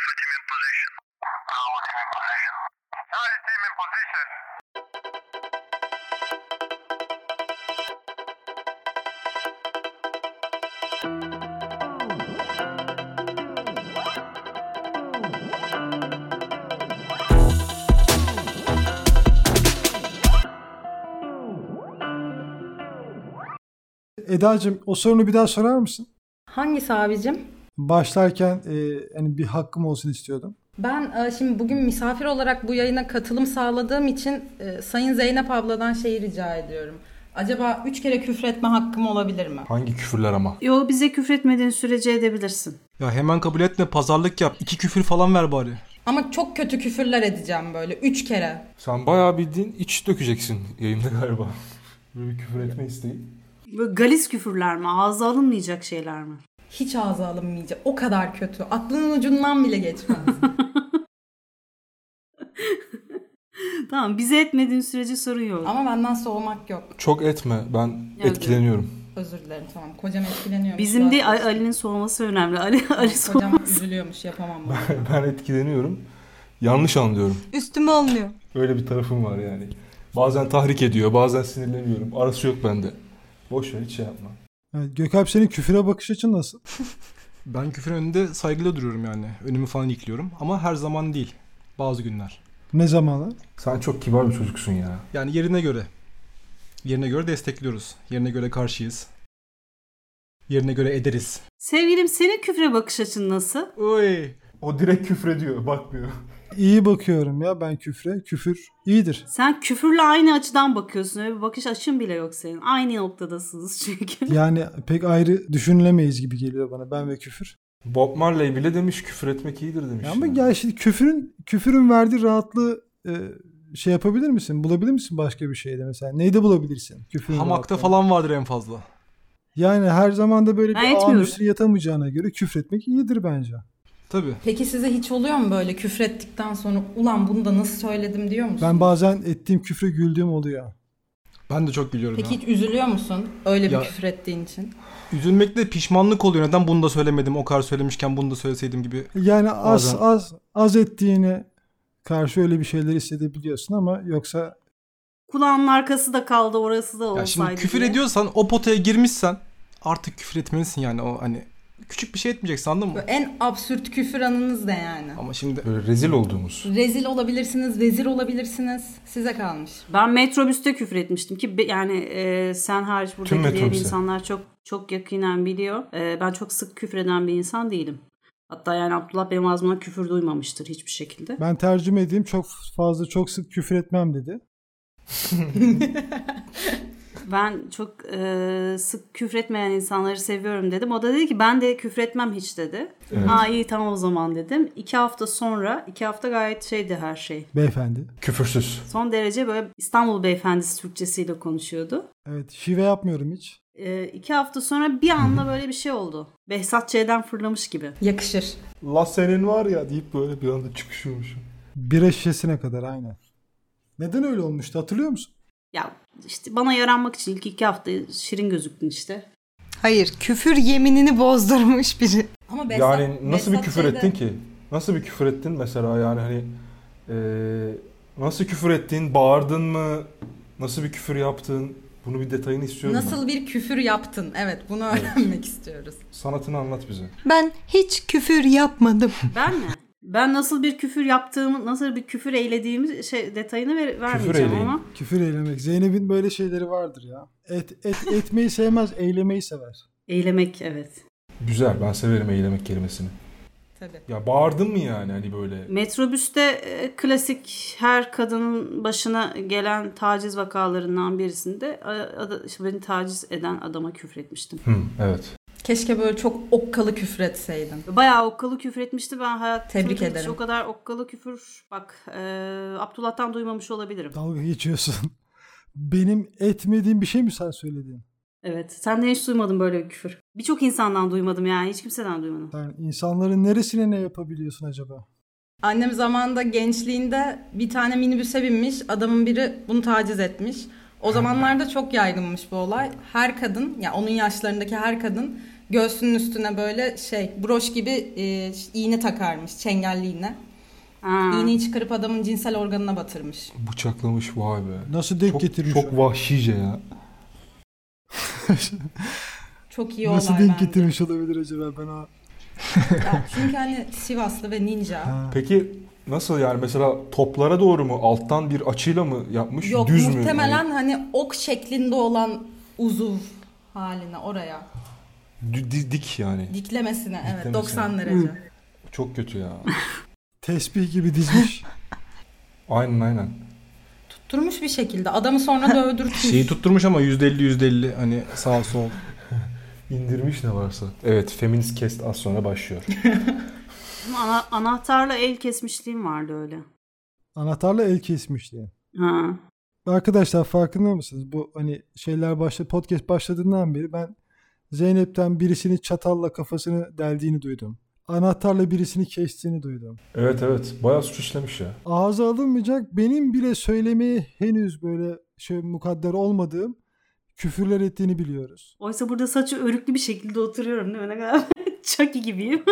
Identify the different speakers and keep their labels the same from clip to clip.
Speaker 1: position. I want him in position. I see him in position.
Speaker 2: Eda'cığım o sorunu bir daha sorar mısın?
Speaker 3: Hangisi abicim?
Speaker 2: Başlarken e, hani bir hakkım olsun istiyordum.
Speaker 3: Ben e, şimdi bugün misafir olarak bu yayına katılım sağladığım için e, Sayın Zeynep abladan şeyi rica ediyorum. Acaba üç kere küfretme hakkım olabilir mi?
Speaker 4: Hangi küfürler ama?
Speaker 5: Yo bize küfretmediğin sürece edebilirsin.
Speaker 4: Ya hemen kabul etme pazarlık yap. İki küfür falan ver bari.
Speaker 3: Ama çok kötü küfürler edeceğim böyle. Üç kere.
Speaker 4: Sen bayağı bildiğin iç dökeceksin yayında galiba. Böyle bir küfür etme isteği.
Speaker 5: Böyle galis küfürler mi? Ağza alınmayacak şeyler mi?
Speaker 3: Hiç ağza alınmayacak. O kadar kötü. Aklının ucundan bile geçmez.
Speaker 5: Tamam bize etmediğin sürece sorun yok.
Speaker 3: Ama benden soğumak yok.
Speaker 4: Çok etme ben etkileniyorum.
Speaker 3: Özür dilerim tamam. Kocam etkileniyormuş.
Speaker 5: Bizim değil
Speaker 3: Biraz-
Speaker 5: Ali- Ali'nin soğuması önemli. Ali, Ali soğuması.
Speaker 3: Kocam üzülüyormuş yapamam bunu.
Speaker 4: ben etkileniyorum. Yanlış anlıyorum.
Speaker 6: Üstüme alınıyor.
Speaker 4: Öyle bir tarafım var yani. Bazen tahrik ediyor bazen sinirleniyorum. Arası yok bende. Boş ver hiç şey yapma.
Speaker 2: Evet, Gökalp senin küfüre bakış açın nasıl?
Speaker 7: Ben küfür önünde saygıyla duruyorum yani. Önümü falan yıklıyorum ama her zaman değil. Bazı günler.
Speaker 2: Ne zamanlar?
Speaker 4: Sen çok kibar bir çocuksun ya.
Speaker 7: Yani yerine göre. Yerine göre destekliyoruz. Yerine göre karşıyız. Yerine göre ederiz.
Speaker 5: Sevgilim senin küfre bakış açın nasıl?
Speaker 7: Oy.
Speaker 4: O direkt küfrediyor bakmıyor.
Speaker 2: İyi bakıyorum ya ben küfre. Küfür iyidir.
Speaker 5: Sen küfürle aynı açıdan bakıyorsun. Öyle bir bakış açın bile yok senin. Aynı noktadasınız çünkü.
Speaker 2: Yani pek ayrı düşünülemeyiz gibi geliyor bana ben ve küfür.
Speaker 4: Bob Marley bile demiş küfür etmek iyidir demiş.
Speaker 2: Ya ama
Speaker 4: yani.
Speaker 2: gel şimdi küfürün küfürün verdiği rahatlığı e, şey yapabilir misin? Bulabilir misin başka bir şeyde mesela? Neyde bulabilirsin? Küfürün
Speaker 7: Hamakta
Speaker 2: rahatlığını?
Speaker 7: falan vardır en fazla.
Speaker 2: Yani her zaman da böyle
Speaker 5: Ben
Speaker 2: bir ağın
Speaker 5: etmiyorum.
Speaker 2: üstüne yatamayacağına göre küfretmek iyidir bence.
Speaker 7: Tabii.
Speaker 3: Peki size hiç oluyor mu böyle küfrettikten sonra ulan bunu da nasıl söyledim diyor musun?
Speaker 2: Ben bazen ettiğim küfre güldüğüm oluyor.
Speaker 7: Ben de çok gülüyorum
Speaker 3: Peki
Speaker 7: ya.
Speaker 3: hiç üzülüyor musun öyle
Speaker 7: Ya-
Speaker 3: bir küfür ettiğin için?
Speaker 7: Üzülmekle pişmanlık oluyor. Neden bunu da söylemedim? O kadar söylemişken bunu da söyleseydim gibi.
Speaker 2: Yani az
Speaker 7: Bazen.
Speaker 2: az az ettiğine karşı öyle bir şeyler hissedebiliyorsun ama yoksa
Speaker 5: Kulağının arkası da kaldı orası da olsaydı.
Speaker 7: Ya şimdi küfür
Speaker 5: diye.
Speaker 7: ediyorsan o potaya girmişsen artık küfür etmelisin yani o hani küçük bir şey etmeyeceksin anladın mı?
Speaker 3: Böyle en absürt küfür anınız ne yani?
Speaker 7: Ama şimdi
Speaker 4: Böyle rezil olduğumuz.
Speaker 3: Rezil olabilirsiniz, vezir olabilirsiniz. Size kalmış.
Speaker 5: Ben metrobüste küfür etmiştim ki be- yani e, sen hariç buradaki diğer
Speaker 4: metrobüse.
Speaker 5: insanlar çok çok yakinen biliyor. E, ben çok sık küfreden bir insan değilim. Hatta yani Abdullah benim ağzımdan küfür duymamıştır hiçbir şekilde.
Speaker 2: ben tercüme edeyim çok fazla çok sık küfür etmem dedi.
Speaker 5: Ben çok e, sık küfretmeyen insanları seviyorum dedim. O da dedi ki ben de küfretmem hiç dedi.
Speaker 4: Evet.
Speaker 5: Aa iyi tamam o zaman dedim. İki hafta sonra, iki hafta gayet şeydi her şey.
Speaker 2: Beyefendi.
Speaker 4: Küfürsüz.
Speaker 5: Son derece böyle İstanbul beyefendisi Türkçesiyle konuşuyordu.
Speaker 2: Evet şive yapmıyorum hiç.
Speaker 5: E, iki hafta sonra bir anda böyle bir şey oldu. Behzat Ç'den fırlamış gibi.
Speaker 3: Yakışır.
Speaker 4: La senin var ya deyip böyle bir anda çıkışıyormuşum.
Speaker 2: Bira şişesine kadar aynen. Neden öyle olmuştu hatırlıyor musun?
Speaker 5: Ya işte bana yaranmak için ilk iki hafta şirin gözüktün işte.
Speaker 6: Hayır küfür yeminini bozdurmuş biri.
Speaker 3: Ama
Speaker 4: yani nasıl bir küfür ettin ki? Nasıl bir küfür ettin mesela yani hani eee, nasıl küfür ettin? Bağırdın mı? Nasıl bir küfür yaptın? Bunu bir detayını istiyorum. ben.
Speaker 3: Nasıl bir küfür yaptın? Evet, bunu öğrenmek istiyoruz.
Speaker 4: Sanatını anlat bize.
Speaker 6: Ben hiç küfür yapmadım.
Speaker 5: Ben mi? Ben nasıl bir küfür yaptığımı, nasıl bir küfür eylediğimi şey detayını ver, vermeyeceğim
Speaker 4: eyleyin.
Speaker 5: ama.
Speaker 2: Küfür eylemek. Zeynep'in böyle şeyleri vardır ya. Et, et etmeyi sevmez, eylemeyi sever.
Speaker 5: Eylemek evet.
Speaker 4: Güzel ben severim eylemek kelimesini.
Speaker 3: Tabii.
Speaker 4: Ya bağırdın mı yani hani böyle?
Speaker 5: Metrobüste e, klasik her kadının başına gelen taciz vakalarından birisinde a- ada- işte beni taciz eden adama küfür etmiştim.
Speaker 4: Hı, evet.
Speaker 3: Keşke böyle çok okkalı küfür etseydin.
Speaker 5: Bayağı okkalı küfür etmişti. Ben hayatımda
Speaker 3: Tebrik
Speaker 5: hiç
Speaker 3: ederim.
Speaker 5: o kadar okkalı küfür bak e, Abdullah'tan duymamış olabilirim.
Speaker 2: Dalga geçiyorsun. Benim etmediğim bir şey mi sen söyledin?
Speaker 5: Evet. Senden hiç duymadım böyle bir küfür. Birçok insandan duymadım yani. Hiç kimseden duymadım.
Speaker 2: Sen insanların neresine ne yapabiliyorsun acaba?
Speaker 3: Annem zamanında gençliğinde bir tane minibüse binmiş. Adamın biri bunu taciz etmiş. O zamanlarda çok yaygınmış bu olay. Her kadın, ya onun yaşlarındaki her kadın göğsünün üstüne böyle şey broş gibi e, iğne takarmış çengelli iğne.
Speaker 5: Ha.
Speaker 3: İğneyi çıkarıp adamın cinsel organına batırmış.
Speaker 4: Bıçaklamış vay be.
Speaker 2: Nasıl denk
Speaker 4: Çok,
Speaker 2: getirmiş?
Speaker 4: çok vahşice ya.
Speaker 3: Çok iyi
Speaker 2: Nasıl
Speaker 3: olay
Speaker 2: denk
Speaker 3: bence.
Speaker 2: getirmiş olabilir acaba ben o?
Speaker 3: Ya çünkü hani Sivaslı ve ninja.
Speaker 2: Ha.
Speaker 4: Peki nasıl yani mesela toplara doğru mu alttan bir açıyla mı yapmış
Speaker 3: Yok
Speaker 4: düz mü?
Speaker 3: muhtemelen hani ok şeklinde olan uzuv haline oraya
Speaker 4: Yani dü- Hani di- dik yani.
Speaker 3: diklemesine evet
Speaker 4: Diklemesine.
Speaker 3: 90 derece.
Speaker 4: Çok kötü ya.
Speaker 2: Tesbih gibi dizmiş.
Speaker 4: aynen aynen.
Speaker 3: Tutturmuş bir şekilde adamı sonra dövdürtmüş.
Speaker 7: Şeyi tutturmuş ama %50 %50 hani sağ sol.
Speaker 4: İndirmiş ne varsa. Evet feminist cast az sonra başlıyor.
Speaker 5: Ama ana- anahtarla el kesmişliğim vardı öyle.
Speaker 2: Anahtarla el kesmiş diye.
Speaker 5: Ha.
Speaker 2: Arkadaşlar farkında mısınız? Bu hani şeyler başla podcast başladığından beri ben Zeynep'ten birisini çatalla kafasını deldiğini duydum. Anahtarla birisini kestiğini duydum.
Speaker 4: Evet evet bayağı suç işlemiş ya.
Speaker 2: Ağza alınmayacak benim bile söylemeyi henüz böyle şey mukadder olmadığım küfürler ettiğini biliyoruz.
Speaker 5: Oysa burada saçı örüklü bir şekilde oturuyorum değil mi? Ne kadar Chucky gibiyim.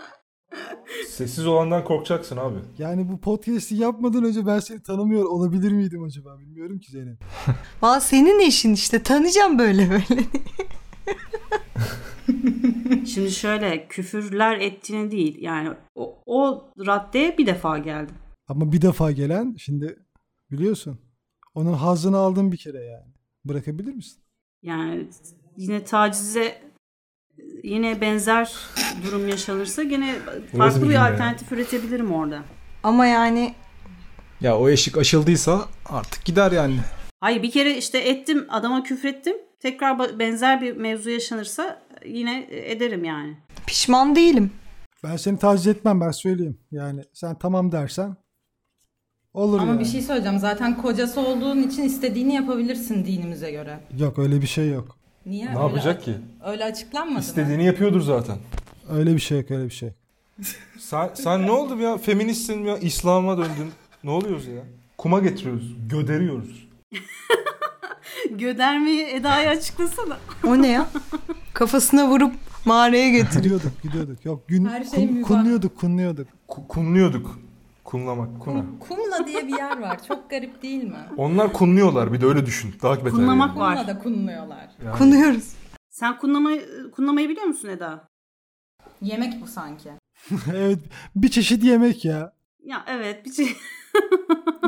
Speaker 4: Sessiz olandan korkacaksın abi.
Speaker 2: Yani bu podcast'i yapmadan önce ben seni tanımıyor olabilir miydim acaba bilmiyorum ki Zeynep.
Speaker 6: Valla senin eşin işte tanıyacağım böyle böyle.
Speaker 5: Şimdi şöyle küfürler ettiğini değil. Yani o, o raddeye bir defa geldim.
Speaker 2: Ama bir defa gelen şimdi biliyorsun onun hazzını aldın bir kere yani. Bırakabilir misin?
Speaker 5: Yani yine tacize yine benzer durum yaşanırsa gene
Speaker 4: Burası
Speaker 5: farklı
Speaker 4: bir
Speaker 5: bir
Speaker 4: cümle
Speaker 5: alternatif üretebilirim orada.
Speaker 6: Ama yani
Speaker 7: Ya o eşik aşıldıysa artık gider yani.
Speaker 5: Hayır bir kere işte ettim adama küfrettim. Tekrar ba- benzer bir mevzu yaşanırsa e, yine ederim yani.
Speaker 6: pişman değilim.
Speaker 2: Ben seni taciz etmem ben söyleyeyim. Yani sen tamam dersen olur
Speaker 3: Ama
Speaker 2: yani.
Speaker 3: bir şey söyleyeceğim zaten kocası olduğun için istediğini yapabilirsin dinimize göre.
Speaker 2: Yok öyle bir şey yok.
Speaker 3: Niye?
Speaker 4: Ne yapacak ki?
Speaker 3: Öyle açıklanmadı mı?
Speaker 4: İstediğini yapıyordur zaten.
Speaker 2: Öyle bir şey yok öyle bir şey.
Speaker 4: Sen, sen ne oldu ya? Feministsin ya. İslam'a döndün. Ne oluyoruz ya? Kuma getiriyoruz. Göderiyoruz.
Speaker 5: Gödermeyi Eda'ya açıklasana.
Speaker 6: O ne ya? Kafasına vurup mağaraya götür.
Speaker 2: Gidiyorduk gidiyorduk. Yok gün,
Speaker 3: Her şey
Speaker 2: kun-
Speaker 3: mübah.
Speaker 2: kunluyorduk kunluyorduk.
Speaker 4: Ku- kumluyorduk. Kumlamak. Kuna.
Speaker 3: Kumla diye bir yer var. Çok garip değil mi?
Speaker 4: Onlar kunluyorlar. Bir de öyle düşün. Daha beter.
Speaker 5: Kunlamak
Speaker 4: yani.
Speaker 5: var.
Speaker 3: Kumla da kunluyorlar.
Speaker 4: Yani
Speaker 6: Konuyoruz.
Speaker 5: Sen kunlamayı, kunlamayı biliyor musun Eda?
Speaker 3: Yemek bu sanki.
Speaker 2: evet bir çeşit yemek ya.
Speaker 5: Ya evet bir şey.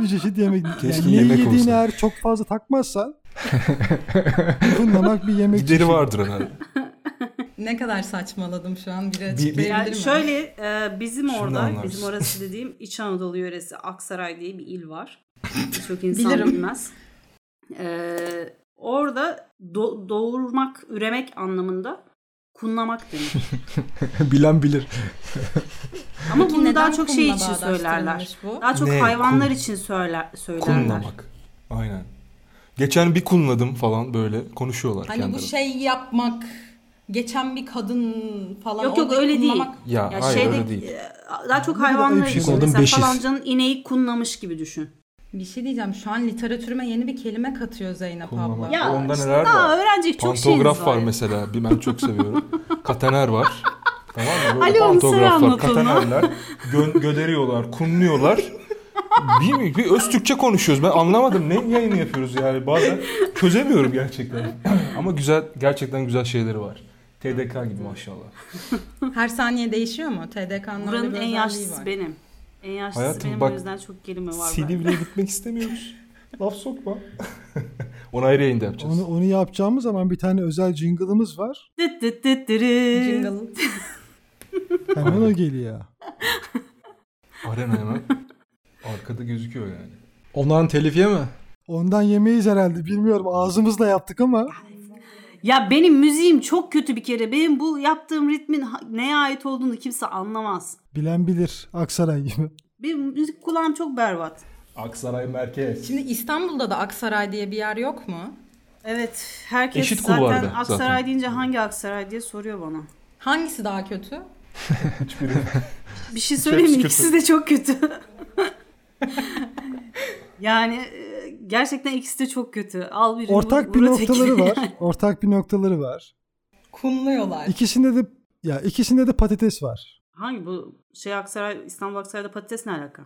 Speaker 2: Bir çeşit yemek.
Speaker 4: Keşke
Speaker 2: neyi
Speaker 4: yemek
Speaker 2: yediğini
Speaker 4: olsa.
Speaker 2: eğer çok fazla takmazsan kunlamak bir yemek
Speaker 4: Gideri
Speaker 2: çeşidi.
Speaker 4: vardır herhalde.
Speaker 3: Ne kadar saçmaladım şu an biri
Speaker 4: bir-
Speaker 3: açıklayabilir
Speaker 5: Yani
Speaker 3: mi?
Speaker 5: şöyle e, bizim
Speaker 4: Şimdi
Speaker 5: orada,
Speaker 4: anlarız.
Speaker 5: bizim orası dediğim İç Anadolu yöresi Aksaray diye bir il var. Çok insan
Speaker 3: Bilirim.
Speaker 5: bilmez. E, orada do- doğurmak, üremek anlamında kunlamak denir.
Speaker 7: Bilen bilir.
Speaker 5: Ama
Speaker 3: Peki
Speaker 5: bunu
Speaker 3: neden
Speaker 5: daha çok şey
Speaker 3: kumla
Speaker 5: için söylerler.
Speaker 3: bağdaştırılmış bu?
Speaker 5: Daha çok
Speaker 4: Ne?
Speaker 5: hayvanlar
Speaker 4: Kun-
Speaker 5: için söyler söylerler.
Speaker 4: Kunlamak. Aynen. Geçen bir kunladım falan böyle konuşuyorlar
Speaker 3: Hani bu
Speaker 4: kendileri.
Speaker 3: şey yapmak, geçen bir kadın falan.
Speaker 5: Yok, yok,
Speaker 3: orada
Speaker 5: öyle değil.
Speaker 3: kullanmak-
Speaker 4: Ya,
Speaker 5: Ya
Speaker 3: şey
Speaker 4: hayır
Speaker 5: şeyde
Speaker 4: öyle değil.
Speaker 5: e, daha çok
Speaker 2: Bu da
Speaker 5: hayvanlar
Speaker 2: ayıp
Speaker 5: için
Speaker 2: şey.
Speaker 7: Oldum
Speaker 5: mesela
Speaker 7: beşiz.
Speaker 5: falancanın ineği kunlamış gibi düşün.
Speaker 3: Bir şey diyeceğim. Şu an literatürüme yeni bir kelime katıyor Zeynep
Speaker 4: Kunlamak.
Speaker 3: abla.
Speaker 5: Ya
Speaker 4: Onda
Speaker 5: işte
Speaker 4: neler
Speaker 5: daha
Speaker 4: var?
Speaker 5: öğrenecek çok şeyimiz var.
Speaker 4: Pantograf var mesela. Bir ben çok seviyorum. Katener var. Tamam mı? Böyle
Speaker 5: Ali onu sen
Speaker 4: pantograf var.
Speaker 5: anlat ona.
Speaker 4: Katenerler. Gö- göderiyorlar, kunluyorlar. Değil mi? Bir öz Türkçe konuşuyoruz. Ben anlamadım. Ne yayını yapıyoruz yani bazen. Çözemiyorum gerçekten. Ama güzel, gerçekten güzel şeyleri var. TDK gibi maşallah.
Speaker 3: Her saniye değişiyor mu? TDK'nın öyle
Speaker 5: Buranın
Speaker 3: bir
Speaker 5: en
Speaker 3: özelliği
Speaker 5: yaşlısı
Speaker 3: var.
Speaker 5: benim. En yaşlısı
Speaker 4: Hayatım
Speaker 5: benim
Speaker 4: bak,
Speaker 5: o yüzden çok kelime var. bende.
Speaker 4: Silivri'ye gitmek istemiyoruz. Laf sokma. Onu ayrı yayında yapacağız.
Speaker 2: Onu, onu yapacağımız zaman bir tane özel jingle'ımız var.
Speaker 5: Dıt dıt dıt dırı.
Speaker 3: Jingle.
Speaker 2: Hemen o geliyor.
Speaker 4: Arena hemen. Arkada gözüküyor yani.
Speaker 7: Onların telifiye mi?
Speaker 2: Ondan yemeyiz herhalde bilmiyorum ağzımızla yaptık ama.
Speaker 5: Ya benim müziğim çok kötü bir kere. Benim bu yaptığım ritmin ha- neye ait olduğunu kimse anlamaz.
Speaker 2: Bilen bilir Aksaray gibi.
Speaker 5: Benim müzik kulağım çok berbat.
Speaker 4: Aksaray merkez.
Speaker 3: Şimdi İstanbul'da da Aksaray diye bir yer yok mu?
Speaker 5: Evet herkes
Speaker 4: Eşit kulvarda
Speaker 5: zaten
Speaker 4: zaten.
Speaker 5: Aksaray deyince hangi Aksaray diye soruyor bana.
Speaker 3: Hangisi daha kötü?
Speaker 5: Bir şey söyleyeyim mi?
Speaker 4: kötü.
Speaker 5: İkisi de çok kötü. yani e, gerçekten ikisi de çok kötü. Al birini
Speaker 2: Ortak
Speaker 5: vur-
Speaker 2: bir
Speaker 5: vur ötekine.
Speaker 2: noktaları var. Ortak bir noktaları var.
Speaker 3: Kumluyorlar.
Speaker 2: İkisinde de ya ikisinde de patates var.
Speaker 5: Hangi bu şey Aksaray, İstanbul Aksaray'da patates ne alaka?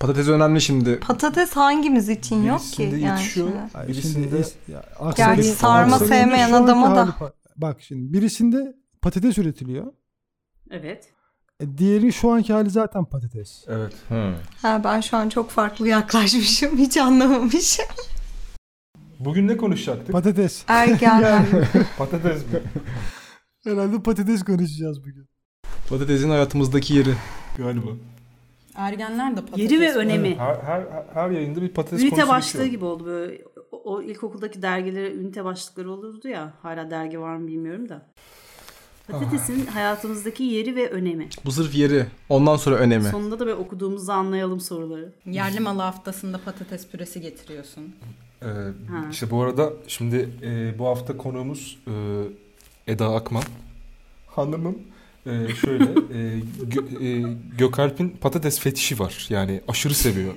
Speaker 7: Patates önemli şimdi.
Speaker 6: Patates hangimiz için yok ki?
Speaker 4: Birisinde yetişiyor.
Speaker 6: şimdi.
Speaker 2: Ay,
Speaker 4: Birisinde-
Speaker 2: şimdi es- ya, Aksaray'ın-
Speaker 6: Gerçi sarma
Speaker 2: Aksaray'ın
Speaker 6: sevmeyen
Speaker 2: şu anki
Speaker 6: adama da-
Speaker 2: hali pa- Bak şimdi birisinde patates üretiliyor.
Speaker 5: Evet.
Speaker 2: E, diğeri şu anki hali zaten patates.
Speaker 4: Evet.
Speaker 6: Ha, ben şu an çok farklı yaklaşmışım. Hiç anlamamışım.
Speaker 4: Bugün ne konuşacaktık?
Speaker 2: Patates.
Speaker 6: Ergen.
Speaker 4: Patates mi?
Speaker 2: Herhalde patates konuşacağız bugün.
Speaker 7: Patatesin hayatımızdaki yeri.
Speaker 4: Galiba.
Speaker 3: Ergenler de patates.
Speaker 5: Yeri ve önemi.
Speaker 4: Her, her, her yayında bir şey patates
Speaker 5: Ünite
Speaker 4: konusu
Speaker 5: başlığı
Speaker 4: geçiyor.
Speaker 5: gibi oldu böyle. O, o ilkokuldaki dergilere ünite başlıkları olurdu ya. Hala dergi var mı bilmiyorum da. Patatesin hayatımızdaki yeri ve önemi.
Speaker 7: Bu sırf yeri. Ondan sonra önemi.
Speaker 5: Sonunda da böyle okuduğumuzu anlayalım soruları.
Speaker 3: Yerli malı haftasında patates püresi getiriyorsun.
Speaker 4: Ee, işte bu arada şimdi e, bu hafta konuğumuz e, Eda Akman hanımım. E, şöyle e, Gö- e, Gökalp'in patates fetişi var. Yani aşırı seviyor.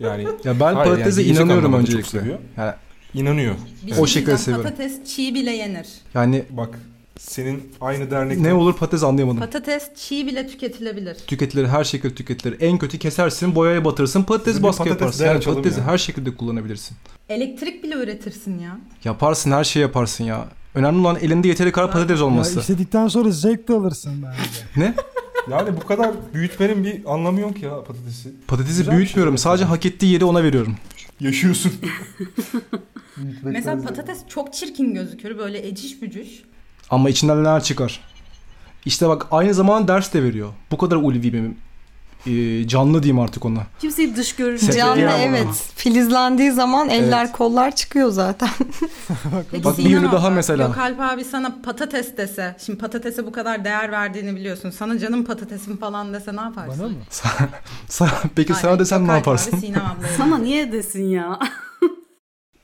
Speaker 4: Yani
Speaker 7: Ya ben
Speaker 4: Hayır, yani
Speaker 7: patatese
Speaker 4: yiyecek
Speaker 7: inanıyorum
Speaker 4: anlamda çok
Speaker 7: öncelikle.
Speaker 4: seviyor.
Speaker 7: Yani,
Speaker 4: inanıyor.
Speaker 3: Bir
Speaker 7: O
Speaker 3: şey
Speaker 7: şekilde
Speaker 3: diyeceğim,
Speaker 7: seviyorum.
Speaker 3: Patates çiğ bile yenir.
Speaker 7: yani
Speaker 4: Bak senin aynı dernekte
Speaker 7: ne olur patates anlayamadım.
Speaker 3: Patates çiğ bile tüketilebilir.
Speaker 7: tüketilir, her şekilde tüketilir. En kötü kesersin, boyaya batırırsın, patates
Speaker 4: Bizim
Speaker 7: baskı
Speaker 4: patates
Speaker 7: yaparsın.
Speaker 4: değer
Speaker 7: Yani
Speaker 4: açalım
Speaker 7: patatesi
Speaker 4: ya.
Speaker 7: her şekilde kullanabilirsin.
Speaker 3: Elektrik bile üretirsin ya.
Speaker 7: Yaparsın, her şeyi yaparsın ya. Önemli olan elinde yeteri kadar patates olması.
Speaker 2: Ya istedikten sonra zevk de alırsın bence.
Speaker 7: Ne?
Speaker 4: yani bu kadar büyütmenin bir anlamı yok ya patatesi.
Speaker 7: Patatesi
Speaker 4: Güzel bir
Speaker 7: büyütmüyorum.
Speaker 4: şey.
Speaker 7: Sadece hak ettiği yeri ona veriyorum.
Speaker 4: Yaşıyorsun.
Speaker 3: Mesela patates çok çirkin gözükür. Böyle eciş bücüş.
Speaker 7: Ama içinden neler çıkar? İşte bak aynı zamanda ders de veriyor. Bu kadar ulvi bir e, canlı diyeyim artık ona.
Speaker 5: Kimseyi dış görünce
Speaker 7: Sepet
Speaker 6: Canlı
Speaker 7: Diğer anlamda.
Speaker 6: evet. Filizlendiği zaman eller kollar çıkıyor zaten.
Speaker 3: Peki
Speaker 7: Bak bir
Speaker 3: Sinan
Speaker 7: ünlü
Speaker 3: abla,
Speaker 7: daha mesela.
Speaker 3: Gökalp abi sana patates dese. Şimdi patatese bu kadar değer verdiğini biliyorsun. Sana canım patatesim falan dese ne yaparsın?
Speaker 2: Bana mı?
Speaker 7: Sa- Peki
Speaker 3: Aynen,
Speaker 7: sana desem ne
Speaker 3: Gökalp
Speaker 7: yaparsın?
Speaker 3: Abi, Sinem ablaya.
Speaker 5: Sana niye desin ya?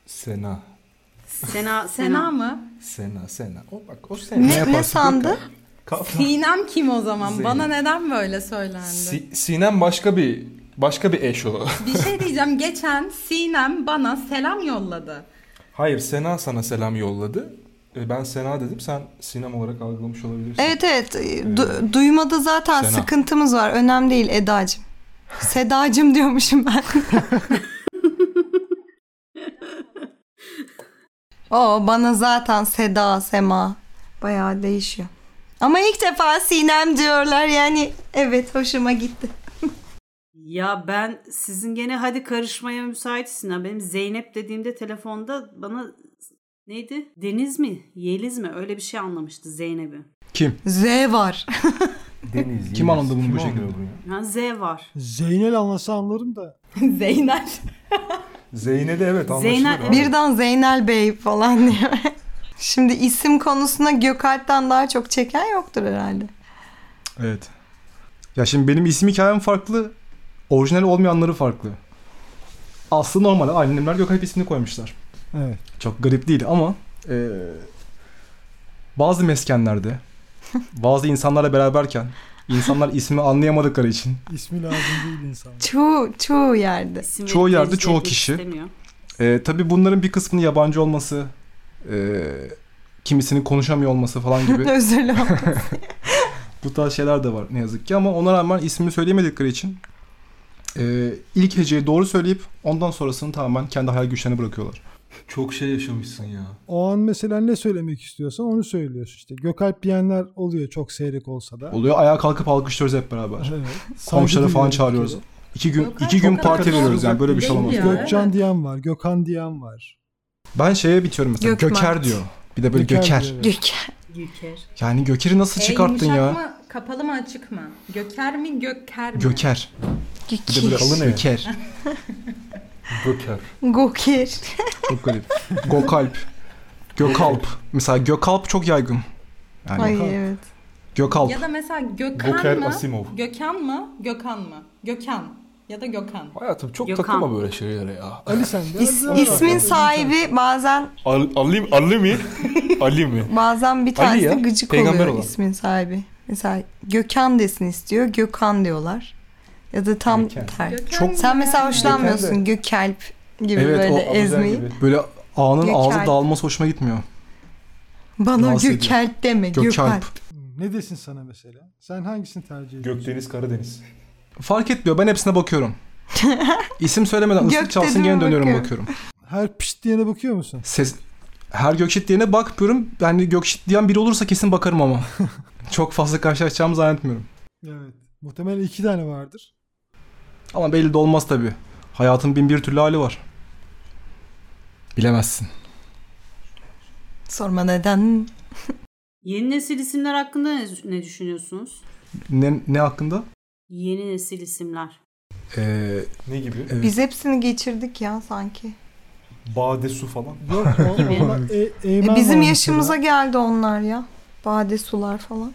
Speaker 4: Sena.
Speaker 3: Sena
Speaker 5: Sena, Sena.
Speaker 3: mı?
Speaker 4: Sena, Sena. O bak o Sena.
Speaker 6: Ne, ne,
Speaker 7: yaparsın?
Speaker 6: sandı?
Speaker 3: Sinem kim o zaman?
Speaker 4: Zeynep.
Speaker 3: Bana neden böyle söylendi?
Speaker 4: Si- Sinem başka bir başka bir eş o.
Speaker 3: Bir şey diyeceğim. Geçen Sinem bana selam yolladı.
Speaker 4: Hayır Sena sana selam yolladı. E, Ben Sena dedim sen Sinem olarak algılamış olabilirsin.
Speaker 6: Evet evet. Du- duymada zaten
Speaker 4: şey Sena.
Speaker 6: sıkıntımız var. Önemli değil Edacığım. Sedacığım diyormuşum ben. o bana zaten Seda, Sema bayağı değişiyor. Ama ilk defa Sinem diyorlar yani evet hoşuma gitti.
Speaker 5: Ya ben sizin gene hadi karışmaya müsaitsin ha. Benim Zeynep dediğimde telefonda bana neydi? Deniz mi? Yeliz mi? Öyle bir şey anlamıştı Zeynep'i.
Speaker 7: Kim?
Speaker 6: Z var.
Speaker 4: Deniz.
Speaker 7: Kim anladı bunu bu şekilde?
Speaker 5: Yani Z var.
Speaker 2: Zeynel anlasa anlarım da.
Speaker 3: Zeynep.
Speaker 4: Zeynep'e evet anlaşılır.
Speaker 5: Zeynep-
Speaker 4: abi.
Speaker 6: Birden Zeynel Bey falan diyor. Şimdi isim konusuna Gökalp'ten daha çok çeken yoktur herhalde.
Speaker 7: Evet. Ya şimdi benim isim hikayem farklı. Orijinal olmayanları farklı. Aslı normal. Annemler Gökalp ismini koymuşlar.
Speaker 2: Evet.
Speaker 7: Çok garip değil ama e, bazı meskenlerde bazı insanlarla beraberken insanlar ismi anlayamadıkları için
Speaker 2: İsmi lazım değil insan.
Speaker 6: Çoğu, çoğu yerde.
Speaker 5: İsim
Speaker 7: Çoğu
Speaker 5: verip
Speaker 7: yerde
Speaker 5: rezil
Speaker 7: çoğu
Speaker 5: etmek
Speaker 7: kişi.
Speaker 5: istemiyor.
Speaker 7: E, tabii bunların bir kısmının yabancı olması, e, kimisinin konuşamıyor olması falan gibi
Speaker 6: Özür dilerim.
Speaker 7: bu tarz şeyler de var ne yazık ki. Ama ona rağmen ismini söyleyemedikleri için e, ilk heceyi doğru söyleyip ondan sonrasını tamamen kendi hayal güçlerine bırakıyorlar.
Speaker 4: Çok şey yaşamışsın ya.
Speaker 2: O an mesela ne söylemek istiyorsan onu söylüyorsun işte. Gökalp diyenler oluyor çok seyrek olsa da.
Speaker 7: Oluyor ayağa kalkıp alkışlıyoruz hep beraber.
Speaker 2: Evet.
Speaker 7: Komşuları
Speaker 2: Saygı
Speaker 7: falan
Speaker 2: duyuyoruz
Speaker 7: çağırıyoruz.
Speaker 2: bir
Speaker 7: İki gün
Speaker 3: Yok,
Speaker 7: iki gün
Speaker 3: hakikaten
Speaker 7: parti veriyoruz yani böyle bir şey
Speaker 3: değil
Speaker 7: olamaz.
Speaker 3: ya.
Speaker 2: kere.
Speaker 7: Gök-
Speaker 2: Gökcan
Speaker 3: Evet.
Speaker 2: diyen var, Gökhan diyen var.
Speaker 7: Ben şeye bitiyorum mesela.
Speaker 6: Gökmen.
Speaker 7: Göker diyor. Bir de böyle
Speaker 2: Göker
Speaker 7: Göker.
Speaker 2: diyor, evet.
Speaker 6: Gökhan.
Speaker 5: Yüker.
Speaker 7: Yani Göker'i nasıl
Speaker 3: E,
Speaker 7: çıkarttın
Speaker 3: yumuşak
Speaker 7: ya?
Speaker 3: Mı, kapalı mı açık mı? Göker mi göker mi?
Speaker 7: Göker. Bir de böyle
Speaker 4: Kalın ev.
Speaker 7: Göker.
Speaker 4: Göker.
Speaker 6: Gokir.
Speaker 7: Çok garip. Gokalp. Gökalp. Mesela Gökalp çok yaygın. Yani
Speaker 6: Ay evet.
Speaker 7: Gökalp.
Speaker 3: Ya da mesela Gökhan
Speaker 4: Göker
Speaker 3: mı?
Speaker 4: Asimov.
Speaker 3: Gökhan mı? Gökhan mı? Gökhan ya da Gökhan.
Speaker 4: Hayatım çok
Speaker 5: Gökhan.
Speaker 4: takılma böyle şeylere ya.
Speaker 2: Ali sen de.
Speaker 6: İs, ismin sahibi bazen
Speaker 4: Al- Ali, Ali mi? Ali mi?
Speaker 6: bazen bir
Speaker 4: Ali
Speaker 6: tanesi
Speaker 4: ya,
Speaker 6: gıcık
Speaker 4: peygamber
Speaker 6: oluyor
Speaker 4: olan.
Speaker 6: ismin sahibi. Mesela Gökhan desin istiyor. Gökhan diyorlar. Ya da tam
Speaker 4: Gökhan.
Speaker 6: ter.
Speaker 3: Gökhan
Speaker 7: Çok-
Speaker 3: mı?
Speaker 6: Sen mesela hoşlanmıyorsun
Speaker 4: Gökhan
Speaker 6: Gökalp gibi
Speaker 7: Evet, o
Speaker 6: böyle
Speaker 4: Abuzer
Speaker 6: ezmeyi.
Speaker 4: gibi.
Speaker 7: Böyle ağanın
Speaker 6: Göker.
Speaker 7: ağzı dağılması hoşuma gitmiyor.
Speaker 6: Bana
Speaker 7: Rahatsız ediyor.
Speaker 6: Gökalp deme.
Speaker 7: Gökalp.
Speaker 6: Gökalp.
Speaker 2: Ne desin sana mesela? Sen hangisini tercih ediyorsun?
Speaker 4: Gökdeniz, Karadeniz.
Speaker 7: Fark etmiyor. Ben hepsine bakıyorum. İsim söylemeden
Speaker 6: Gök
Speaker 7: ıslık çalsın
Speaker 6: dediğime
Speaker 7: gene dönüyorum
Speaker 6: bakıyorum.
Speaker 7: bakıyorum.
Speaker 2: Her pişt diyene bakıyor musun?
Speaker 7: Ses her gökşit diyene bakmıyorum. Yani gökşit diyen biri olursa kesin bakarım ama. Çok fazla karşılaşacağımı zannetmiyorum.
Speaker 2: Evet. Muhtemelen iki tane vardır.
Speaker 7: Ama belli de olmaz tabii. Hayatın bin bir türlü hali var. Bilemezsin.
Speaker 6: Sorma neden.
Speaker 5: Yeni nesil isimler hakkında ne, ne düşünüyorsunuz?
Speaker 7: Ne, ne hakkında?
Speaker 5: Yeni nesil isimler.
Speaker 7: Ee,
Speaker 4: Ne gibi?
Speaker 7: evet.
Speaker 6: Biz hepsini geçirdik ya sanki.
Speaker 4: Bade su falan.
Speaker 2: Yok. o-
Speaker 5: Gibi.
Speaker 2: onlar e-
Speaker 6: E,
Speaker 2: Eymen var
Speaker 6: bizim
Speaker 2: mesela.
Speaker 6: yaşımıza geldi onlar ya. Bade sular falan.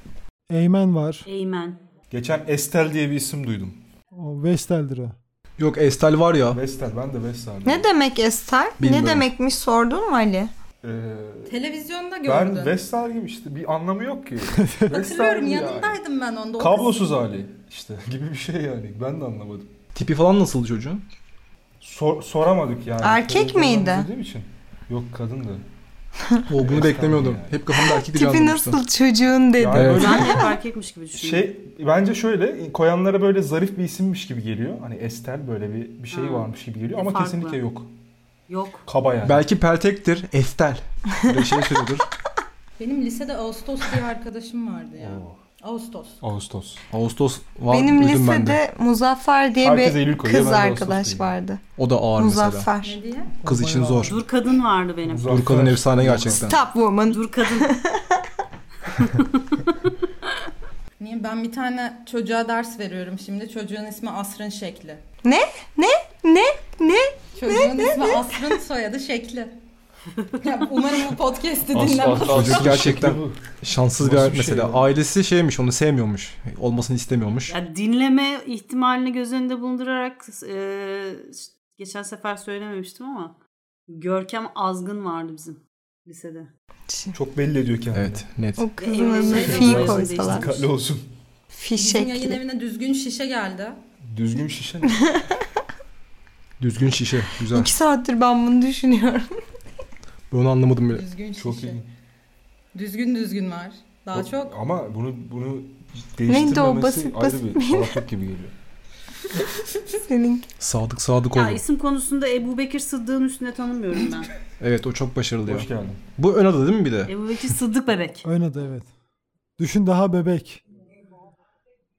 Speaker 2: Eymen var.
Speaker 5: Eymen.
Speaker 4: Geçen Estel diye bir isim duydum.
Speaker 2: O Vestel'dir o.
Speaker 7: Yok Estel var ya.
Speaker 4: Vestel, ben de Vestel. diyorum.
Speaker 6: Ne demek Ester?
Speaker 7: Bilmiyorum.
Speaker 6: Ne demekmiş sordun mu Ali?
Speaker 4: Ee,
Speaker 3: Televizyonda gördüm.
Speaker 4: ben Vestel gibi işte bir anlamı yok ki.
Speaker 3: Hatırlıyorum
Speaker 4: gibi yani.
Speaker 3: yanındaydım ben onda. O
Speaker 4: Kablosuz hali işte gibi bir şey yani. Ben de anlamadım.
Speaker 7: Tipi falan nasıl çocuğun?
Speaker 4: Sor- soramadık yani.
Speaker 6: Erkek
Speaker 4: Televizyondan
Speaker 6: miydi?
Speaker 4: izlediğim için. Yok kadındı.
Speaker 7: O bunu beklemiyordum.
Speaker 4: yani.
Speaker 7: Hep kafamda erkek diye
Speaker 6: Tipi
Speaker 7: anlamıştım.
Speaker 6: nasıl çocuğun dedi.
Speaker 4: Yani
Speaker 7: Evet.
Speaker 4: böyle
Speaker 5: Ben hep erkekmiş gibi düşünüyorum.
Speaker 4: şey bence şöyle koyanlara böyle zarif bir isimmiş gibi geliyor. Hani Estel böyle bir bir şey
Speaker 5: Ha.
Speaker 4: varmış gibi geliyor
Speaker 5: Bir
Speaker 4: ama
Speaker 5: farklı.
Speaker 4: kesinlikle yok.
Speaker 5: Yok.
Speaker 4: Kaba yani.
Speaker 7: Belki Peltek'tir. Estel. Böyle şey söylüyordur.
Speaker 3: Benim lisede Ağustos diye arkadaşım vardı ya.
Speaker 4: Oo.
Speaker 3: Ağustos.
Speaker 4: Ağustos.
Speaker 7: Ağustos var
Speaker 6: Benim
Speaker 7: duydum ben de.
Speaker 6: lisede Muzaffer diye
Speaker 4: Herkes Eylül
Speaker 6: bir
Speaker 4: koyuyor,
Speaker 6: kız
Speaker 4: ben de Ağustos
Speaker 6: arkadaş
Speaker 4: diyeyim.
Speaker 6: vardı.
Speaker 7: O da ağır mesela.
Speaker 6: Muzaffer.
Speaker 3: Ne diye?
Speaker 7: Kız
Speaker 2: O
Speaker 7: için
Speaker 2: bayağı-
Speaker 7: zor.
Speaker 5: Dur kadın vardı benim.
Speaker 4: Muzaffer.
Speaker 7: Dur kadın efsane gerçekten.
Speaker 6: Top woman.
Speaker 5: Dur kadın.
Speaker 3: Niye ben bir tane çocuğa ders veriyorum şimdi. Çocuğun ismi Asrın Şekli.
Speaker 6: Ne? Ne? Ne? Ne?
Speaker 3: Çocuğun ismi Asrın soyadı Şekli. Ya umarım bu podcast'i
Speaker 4: As-
Speaker 3: dinlemez.
Speaker 4: as-
Speaker 7: Çocuk
Speaker 4: aslı
Speaker 7: gerçekten-
Speaker 4: şekli bu.
Speaker 7: Şanssız bir
Speaker 4: Nasıl
Speaker 7: hayat
Speaker 4: bir şey
Speaker 7: mesela.
Speaker 4: ya?
Speaker 7: Ailesi şeymiş onu sevmiyormuş. Olmasını istemiyormuş.
Speaker 5: Ya dinleme ihtimalini göz önünde bulundurarak e, geçen sefer söylememiştim ama Görkem Azgın vardı bizim lisede.
Speaker 4: Çok belli ediyor kendini.
Speaker 7: Evet net.
Speaker 6: O kızın
Speaker 5: Evlenme
Speaker 6: adını
Speaker 5: şeyleri
Speaker 6: fi
Speaker 5: var.
Speaker 6: koysalar.
Speaker 4: Dikkatli olsun.
Speaker 6: Fi
Speaker 3: Bizim yayın
Speaker 6: şekli.
Speaker 3: evine düzgün şişe geldi.
Speaker 4: Düzgün şişe.
Speaker 7: Düzgün şişe. Güzel.
Speaker 6: İki saattir ben bunu düşünüyorum.
Speaker 7: Ben onu anlamadım bile.
Speaker 3: Düzgün şişe.
Speaker 4: Çok iyi.
Speaker 3: Düzgün düzgün var. Daha çok.
Speaker 4: Ama bunu bunu
Speaker 6: Neydi o?
Speaker 4: değiştirmemesi
Speaker 6: Basit, basit
Speaker 4: ayrı bir
Speaker 6: miydi?
Speaker 4: salaklık gibi geliyor.
Speaker 6: Senin
Speaker 7: Sadık Sadık
Speaker 5: Ya
Speaker 7: oldu.
Speaker 5: isim konusunda Ebu Bekir Sıddık'ın üstüne tanımıyorum ben.
Speaker 7: Evet o çok başarılı ya.
Speaker 4: Hoş geldin.
Speaker 7: Bu ön adı değil mi bir de?
Speaker 5: Ebu Bekir Sıddık bebek.
Speaker 2: Ön adı evet. Düşün daha bebek.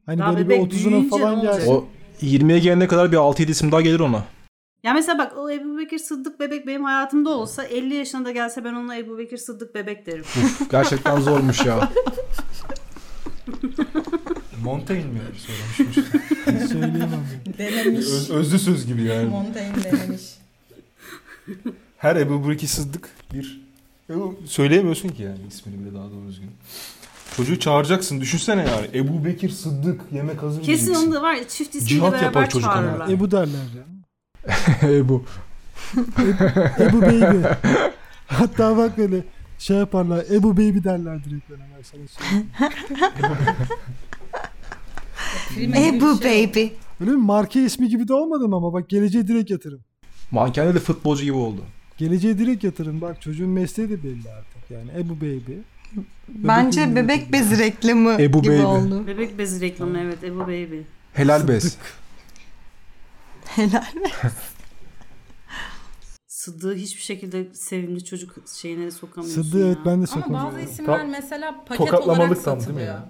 Speaker 2: Hani
Speaker 5: Daha
Speaker 2: böyle
Speaker 5: bebek
Speaker 2: bir 30'una
Speaker 5: büyüyünce ne
Speaker 2: falan
Speaker 5: olacak?
Speaker 2: gelsin.
Speaker 7: O 20'ye gelene kadar bir 6-7 isim daha gelir ona.
Speaker 5: Ya mesela bak o Ebu Bekir Sıddık bebek benim hayatımda olsa 50 yaşında gelse ben ona Ebu Bekir Sıddık bebek derim.
Speaker 7: Uf, gerçekten zormuş ya.
Speaker 4: Montaigne mi söylemiş?
Speaker 2: Söyleyemem. yani.
Speaker 3: Denemiş.
Speaker 4: Öz- özlü söz gibi yani.
Speaker 3: Montaigne denemiş.
Speaker 4: Her Ebu Bekir Sıddık bir Ebu- söyleyemiyorsun ki yani ismini bile daha doğru düzgün. Çocuğu çağıracaksın düşünsene yani Ebu Bekir Sıddık yemek hazır mı
Speaker 5: Kesin
Speaker 4: diyeceksin.
Speaker 5: onu da var ya çift isimle
Speaker 4: Cihat yapar
Speaker 5: beraber
Speaker 4: çocuk ona.
Speaker 5: çağırırlar.
Speaker 2: Ebu derler ya.
Speaker 7: bu.
Speaker 2: Ebu Baby. Hatta bak böyle şey yaparlar. Ebu Baby derler direkt böyle. Ben sana söyleyeyim.
Speaker 3: Freeman gibi
Speaker 6: Ebu
Speaker 3: bir şey.
Speaker 6: baby.
Speaker 2: Öyle mi? Marka ismi gibi de olmadım ama bak geleceğe direkt yatırım.
Speaker 7: Mankende de futbolcu gibi oldu.
Speaker 2: Geleceğe direkt yatırım. Bak çocuğun mesleği de belli artık. Yani Ebu Baby.
Speaker 6: Bence bebek bezi reklamı
Speaker 7: Ebu
Speaker 6: gibi
Speaker 7: baby.
Speaker 6: oldu.
Speaker 5: Bebek bezi reklamı evet Ebu Baby.
Speaker 7: Helal bez.
Speaker 6: Helal.
Speaker 5: Sıddığı hiçbir şekilde sevimli çocuk şeyine sokamıyorsun
Speaker 2: Sıddı
Speaker 5: ya.
Speaker 2: evet ben de
Speaker 3: Ama bazı
Speaker 2: sokamıyorum.
Speaker 3: isimler
Speaker 4: Tam-
Speaker 3: mesela paket olarak
Speaker 4: Tokatlamalık tam değil mi
Speaker 3: satılıyor.
Speaker 4: ya?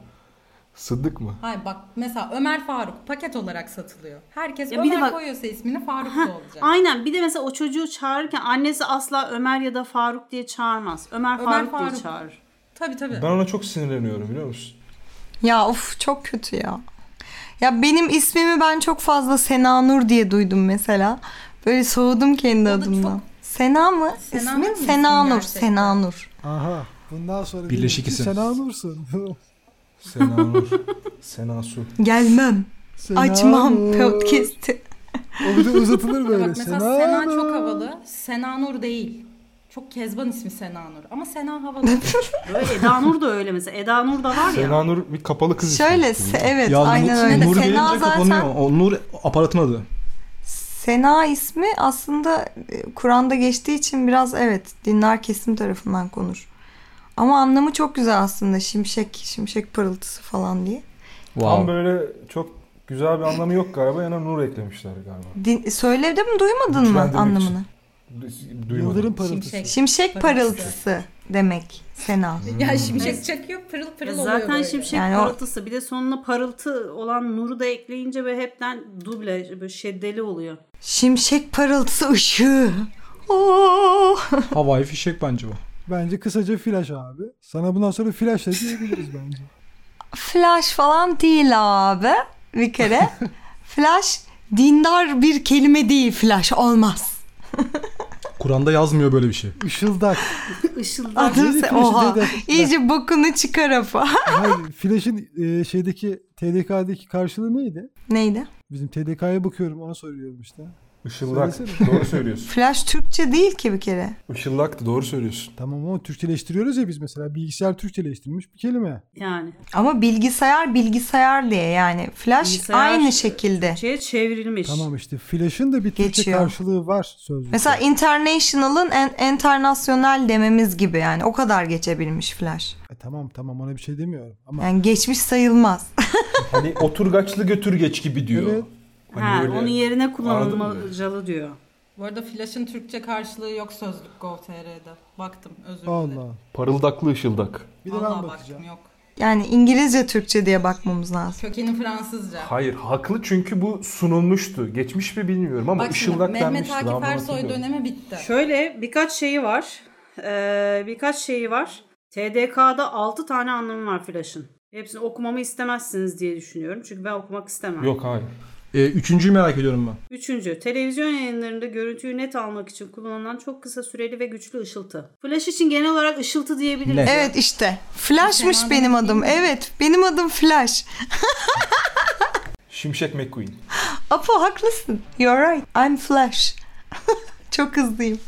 Speaker 4: Sıddık mı?
Speaker 3: Hayır bak mesela Ömer Faruk paket olarak satılıyor. Herkes
Speaker 5: Ya bir de
Speaker 3: Ömer
Speaker 5: bak-
Speaker 3: koyuyorsa ismini Faruk da olacak.
Speaker 5: Aynen bir de mesela o çocuğu çağırırken annesi asla Ömer ya da Faruk diye çağırmaz. Ömer,
Speaker 3: Ömer
Speaker 5: Faruk, diye
Speaker 3: Faruk.
Speaker 5: çağırır.
Speaker 3: Tabii tabii.
Speaker 4: Ben ona çok sinirleniyorum biliyor musun?
Speaker 6: Ya of çok kötü ya. Ya benim ismimi ben çok fazla Sena Nur diye duydum mesela. Böyle soğudum kendi
Speaker 3: O da
Speaker 6: adımdan.
Speaker 3: çok-
Speaker 6: Sena mı?
Speaker 3: Sena Nur
Speaker 6: İsmin
Speaker 3: mu
Speaker 6: Sena
Speaker 3: ismin
Speaker 6: Nur.
Speaker 3: gerçekten?
Speaker 6: Sena Nur.
Speaker 2: Aha. Bundan sonra
Speaker 7: Birleşik
Speaker 2: diyelim ki
Speaker 7: isim.
Speaker 2: Sen Anur'sun.
Speaker 4: Sena Nur, Sena Su.
Speaker 6: Gelmem.
Speaker 2: Sena
Speaker 6: Açmam
Speaker 2: Nur.
Speaker 6: podcast'i.
Speaker 2: O bir de uzatılır
Speaker 3: Ya
Speaker 2: böyle.
Speaker 3: bak mesela
Speaker 2: Sena,
Speaker 3: Sena
Speaker 2: Nur.
Speaker 3: çok havalı. Sena Nur değil. Çok kezban ismi Sena Nur. Ama Sena havalı.
Speaker 5: Böyle Eda Nur da öyle mesela. Eda Nur da var ya.
Speaker 4: Sena Nur bir kapalı kız ismi.
Speaker 6: Şöyle se- evet
Speaker 7: Ya
Speaker 6: aynen
Speaker 7: Nur-
Speaker 6: öyle.
Speaker 7: Nur
Speaker 6: Sena
Speaker 7: gelince kapanıyor.
Speaker 6: zaten
Speaker 7: O Nur aparatın adı.
Speaker 6: Sena ismi aslında e, Kur'an'da geçtiği için biraz evet dinler kesim tarafından konur. Ama anlamı çok güzel aslında. Şimşek, şimşek pırıltısı falan diye.
Speaker 4: Tam
Speaker 8: Wow.
Speaker 4: böyle çok güzel bir anlamı yok galiba. Yana nur eklemişler galiba.
Speaker 6: Din, söyle de mi duymadın mı
Speaker 4: Ben demek
Speaker 6: anlamını?
Speaker 4: Du- Duymadım.
Speaker 2: Yıldırım parıltısı.
Speaker 3: Şimşek.
Speaker 6: Şimşek parıltısı demek Sena.
Speaker 2: Hmm.
Speaker 3: Ya şimşek çakıyor pırıl pırıl
Speaker 5: Ya
Speaker 3: oluyor
Speaker 5: e, zaten
Speaker 3: böyle.
Speaker 5: şimşek
Speaker 6: Yani o-
Speaker 5: parıltısı bir de sonuna parıltı olan nuru da ekleyince böyle hepten duble böyle şeddeli oluyor.
Speaker 6: Şimşek parıltısı ışığı. Oh! Oo.
Speaker 7: Havai fişek bence bu.
Speaker 2: Bence kısaca flash abi. Sana bundan sonra flash da diyebiliriz bence.
Speaker 6: Flash falan değil abi. Bir kere. Flash dindar bir kelime değil flash olmaz.
Speaker 7: Kur'an'da yazmıyor böyle bir şey.
Speaker 2: Işıldak.
Speaker 5: Işıldak.
Speaker 6: Adı
Speaker 2: Yeni
Speaker 6: se-
Speaker 2: flash
Speaker 6: oha.
Speaker 2: dedi.
Speaker 6: İyice bokunu çıkar apa.
Speaker 2: Hayır, flash'ın e, şeydeki TDK'deki karşılığı neydi?
Speaker 6: Neydi?
Speaker 2: Bizim TDK'ya bakıyorum ona soruyorum işte.
Speaker 4: Işıldak.
Speaker 2: Söylesene.
Speaker 4: doğru söylüyorsun.
Speaker 6: Flash Türkçe değil ki bir kere.
Speaker 4: Işıldaktı doğru söylüyorsun.
Speaker 2: Tamam ama Türkçeleştiriyoruz ya biz mesela. Bilgisayar Türkçeleştirilmiş bir kelime.
Speaker 5: Yani.
Speaker 6: Ama bilgisayar bilgisayar diye yani. Flash
Speaker 5: Bilgisayar-
Speaker 6: aynı şekilde.
Speaker 5: Şeye çevrilmiş.
Speaker 2: Tamam işte flash'ın da bir Türkçe
Speaker 6: Geçiyor.
Speaker 2: karşılığı var sözlükte.
Speaker 6: Mesela international'ın en, internasyonel dememiz gibi yani o kadar geçebilmiş flash.
Speaker 2: E, tamam tamam ona bir şey demiyorum ama
Speaker 6: Yani geçmiş sayılmaz.
Speaker 4: Hani oturgaçlı götür geç gibi diyor.
Speaker 2: Evet.
Speaker 4: Hani
Speaker 5: ha,
Speaker 4: böyle-
Speaker 5: onun yerine
Speaker 4: Anladın
Speaker 5: kullanılmacalı diyor.
Speaker 3: Bu arada Flash'ın Türkçe karşılığı yok sözlük Gov.tr'de. Baktım özür dilerim.
Speaker 2: Allah.
Speaker 4: Parıldaklı ışıldak.
Speaker 2: Bir de ben
Speaker 3: Vallahi
Speaker 2: bakacağım.
Speaker 3: baktım yok.
Speaker 6: Yani İngilizce Türkçe diye bakmamız lazım.
Speaker 3: Kökeni Fransızca.
Speaker 4: Hayır haklı çünkü bu sunulmuştu. Geçmiş mi bilmiyorum ama
Speaker 3: Bak şimdi
Speaker 4: ışıldak
Speaker 3: Mehmet
Speaker 4: denmişti. Ben
Speaker 3: Akif
Speaker 4: bunu
Speaker 3: Ersoy
Speaker 4: hatırlıyorum.
Speaker 3: dönemi bitti.
Speaker 5: Şöyle birkaç şeyi var. Ee, birkaç şeyi var. TDK'da 6 tane anlamı var Flash'ın. Hepsini okumamı istemezsiniz diye düşünüyorum. Çünkü ben okumak istemem.
Speaker 4: Yok hayır.
Speaker 7: Ee, üçüncüyü merak ediyorum ben.
Speaker 5: Üçüncü, televizyon yayınlarında görüntüyü net almak için kullanılan çok kısa süreli ve güçlü ışıltı. Flash için genel olarak ışıltı diyebiliriz.
Speaker 7: Ne?
Speaker 6: Evet işte. Flash'mış
Speaker 3: Fena
Speaker 6: benim
Speaker 3: değil
Speaker 6: adım.
Speaker 3: mi?
Speaker 6: Evet benim adım Flash.
Speaker 4: Şimşek McQueen.
Speaker 6: Apo haklısın. You're right. I'm Flash. Çok hızlıyım.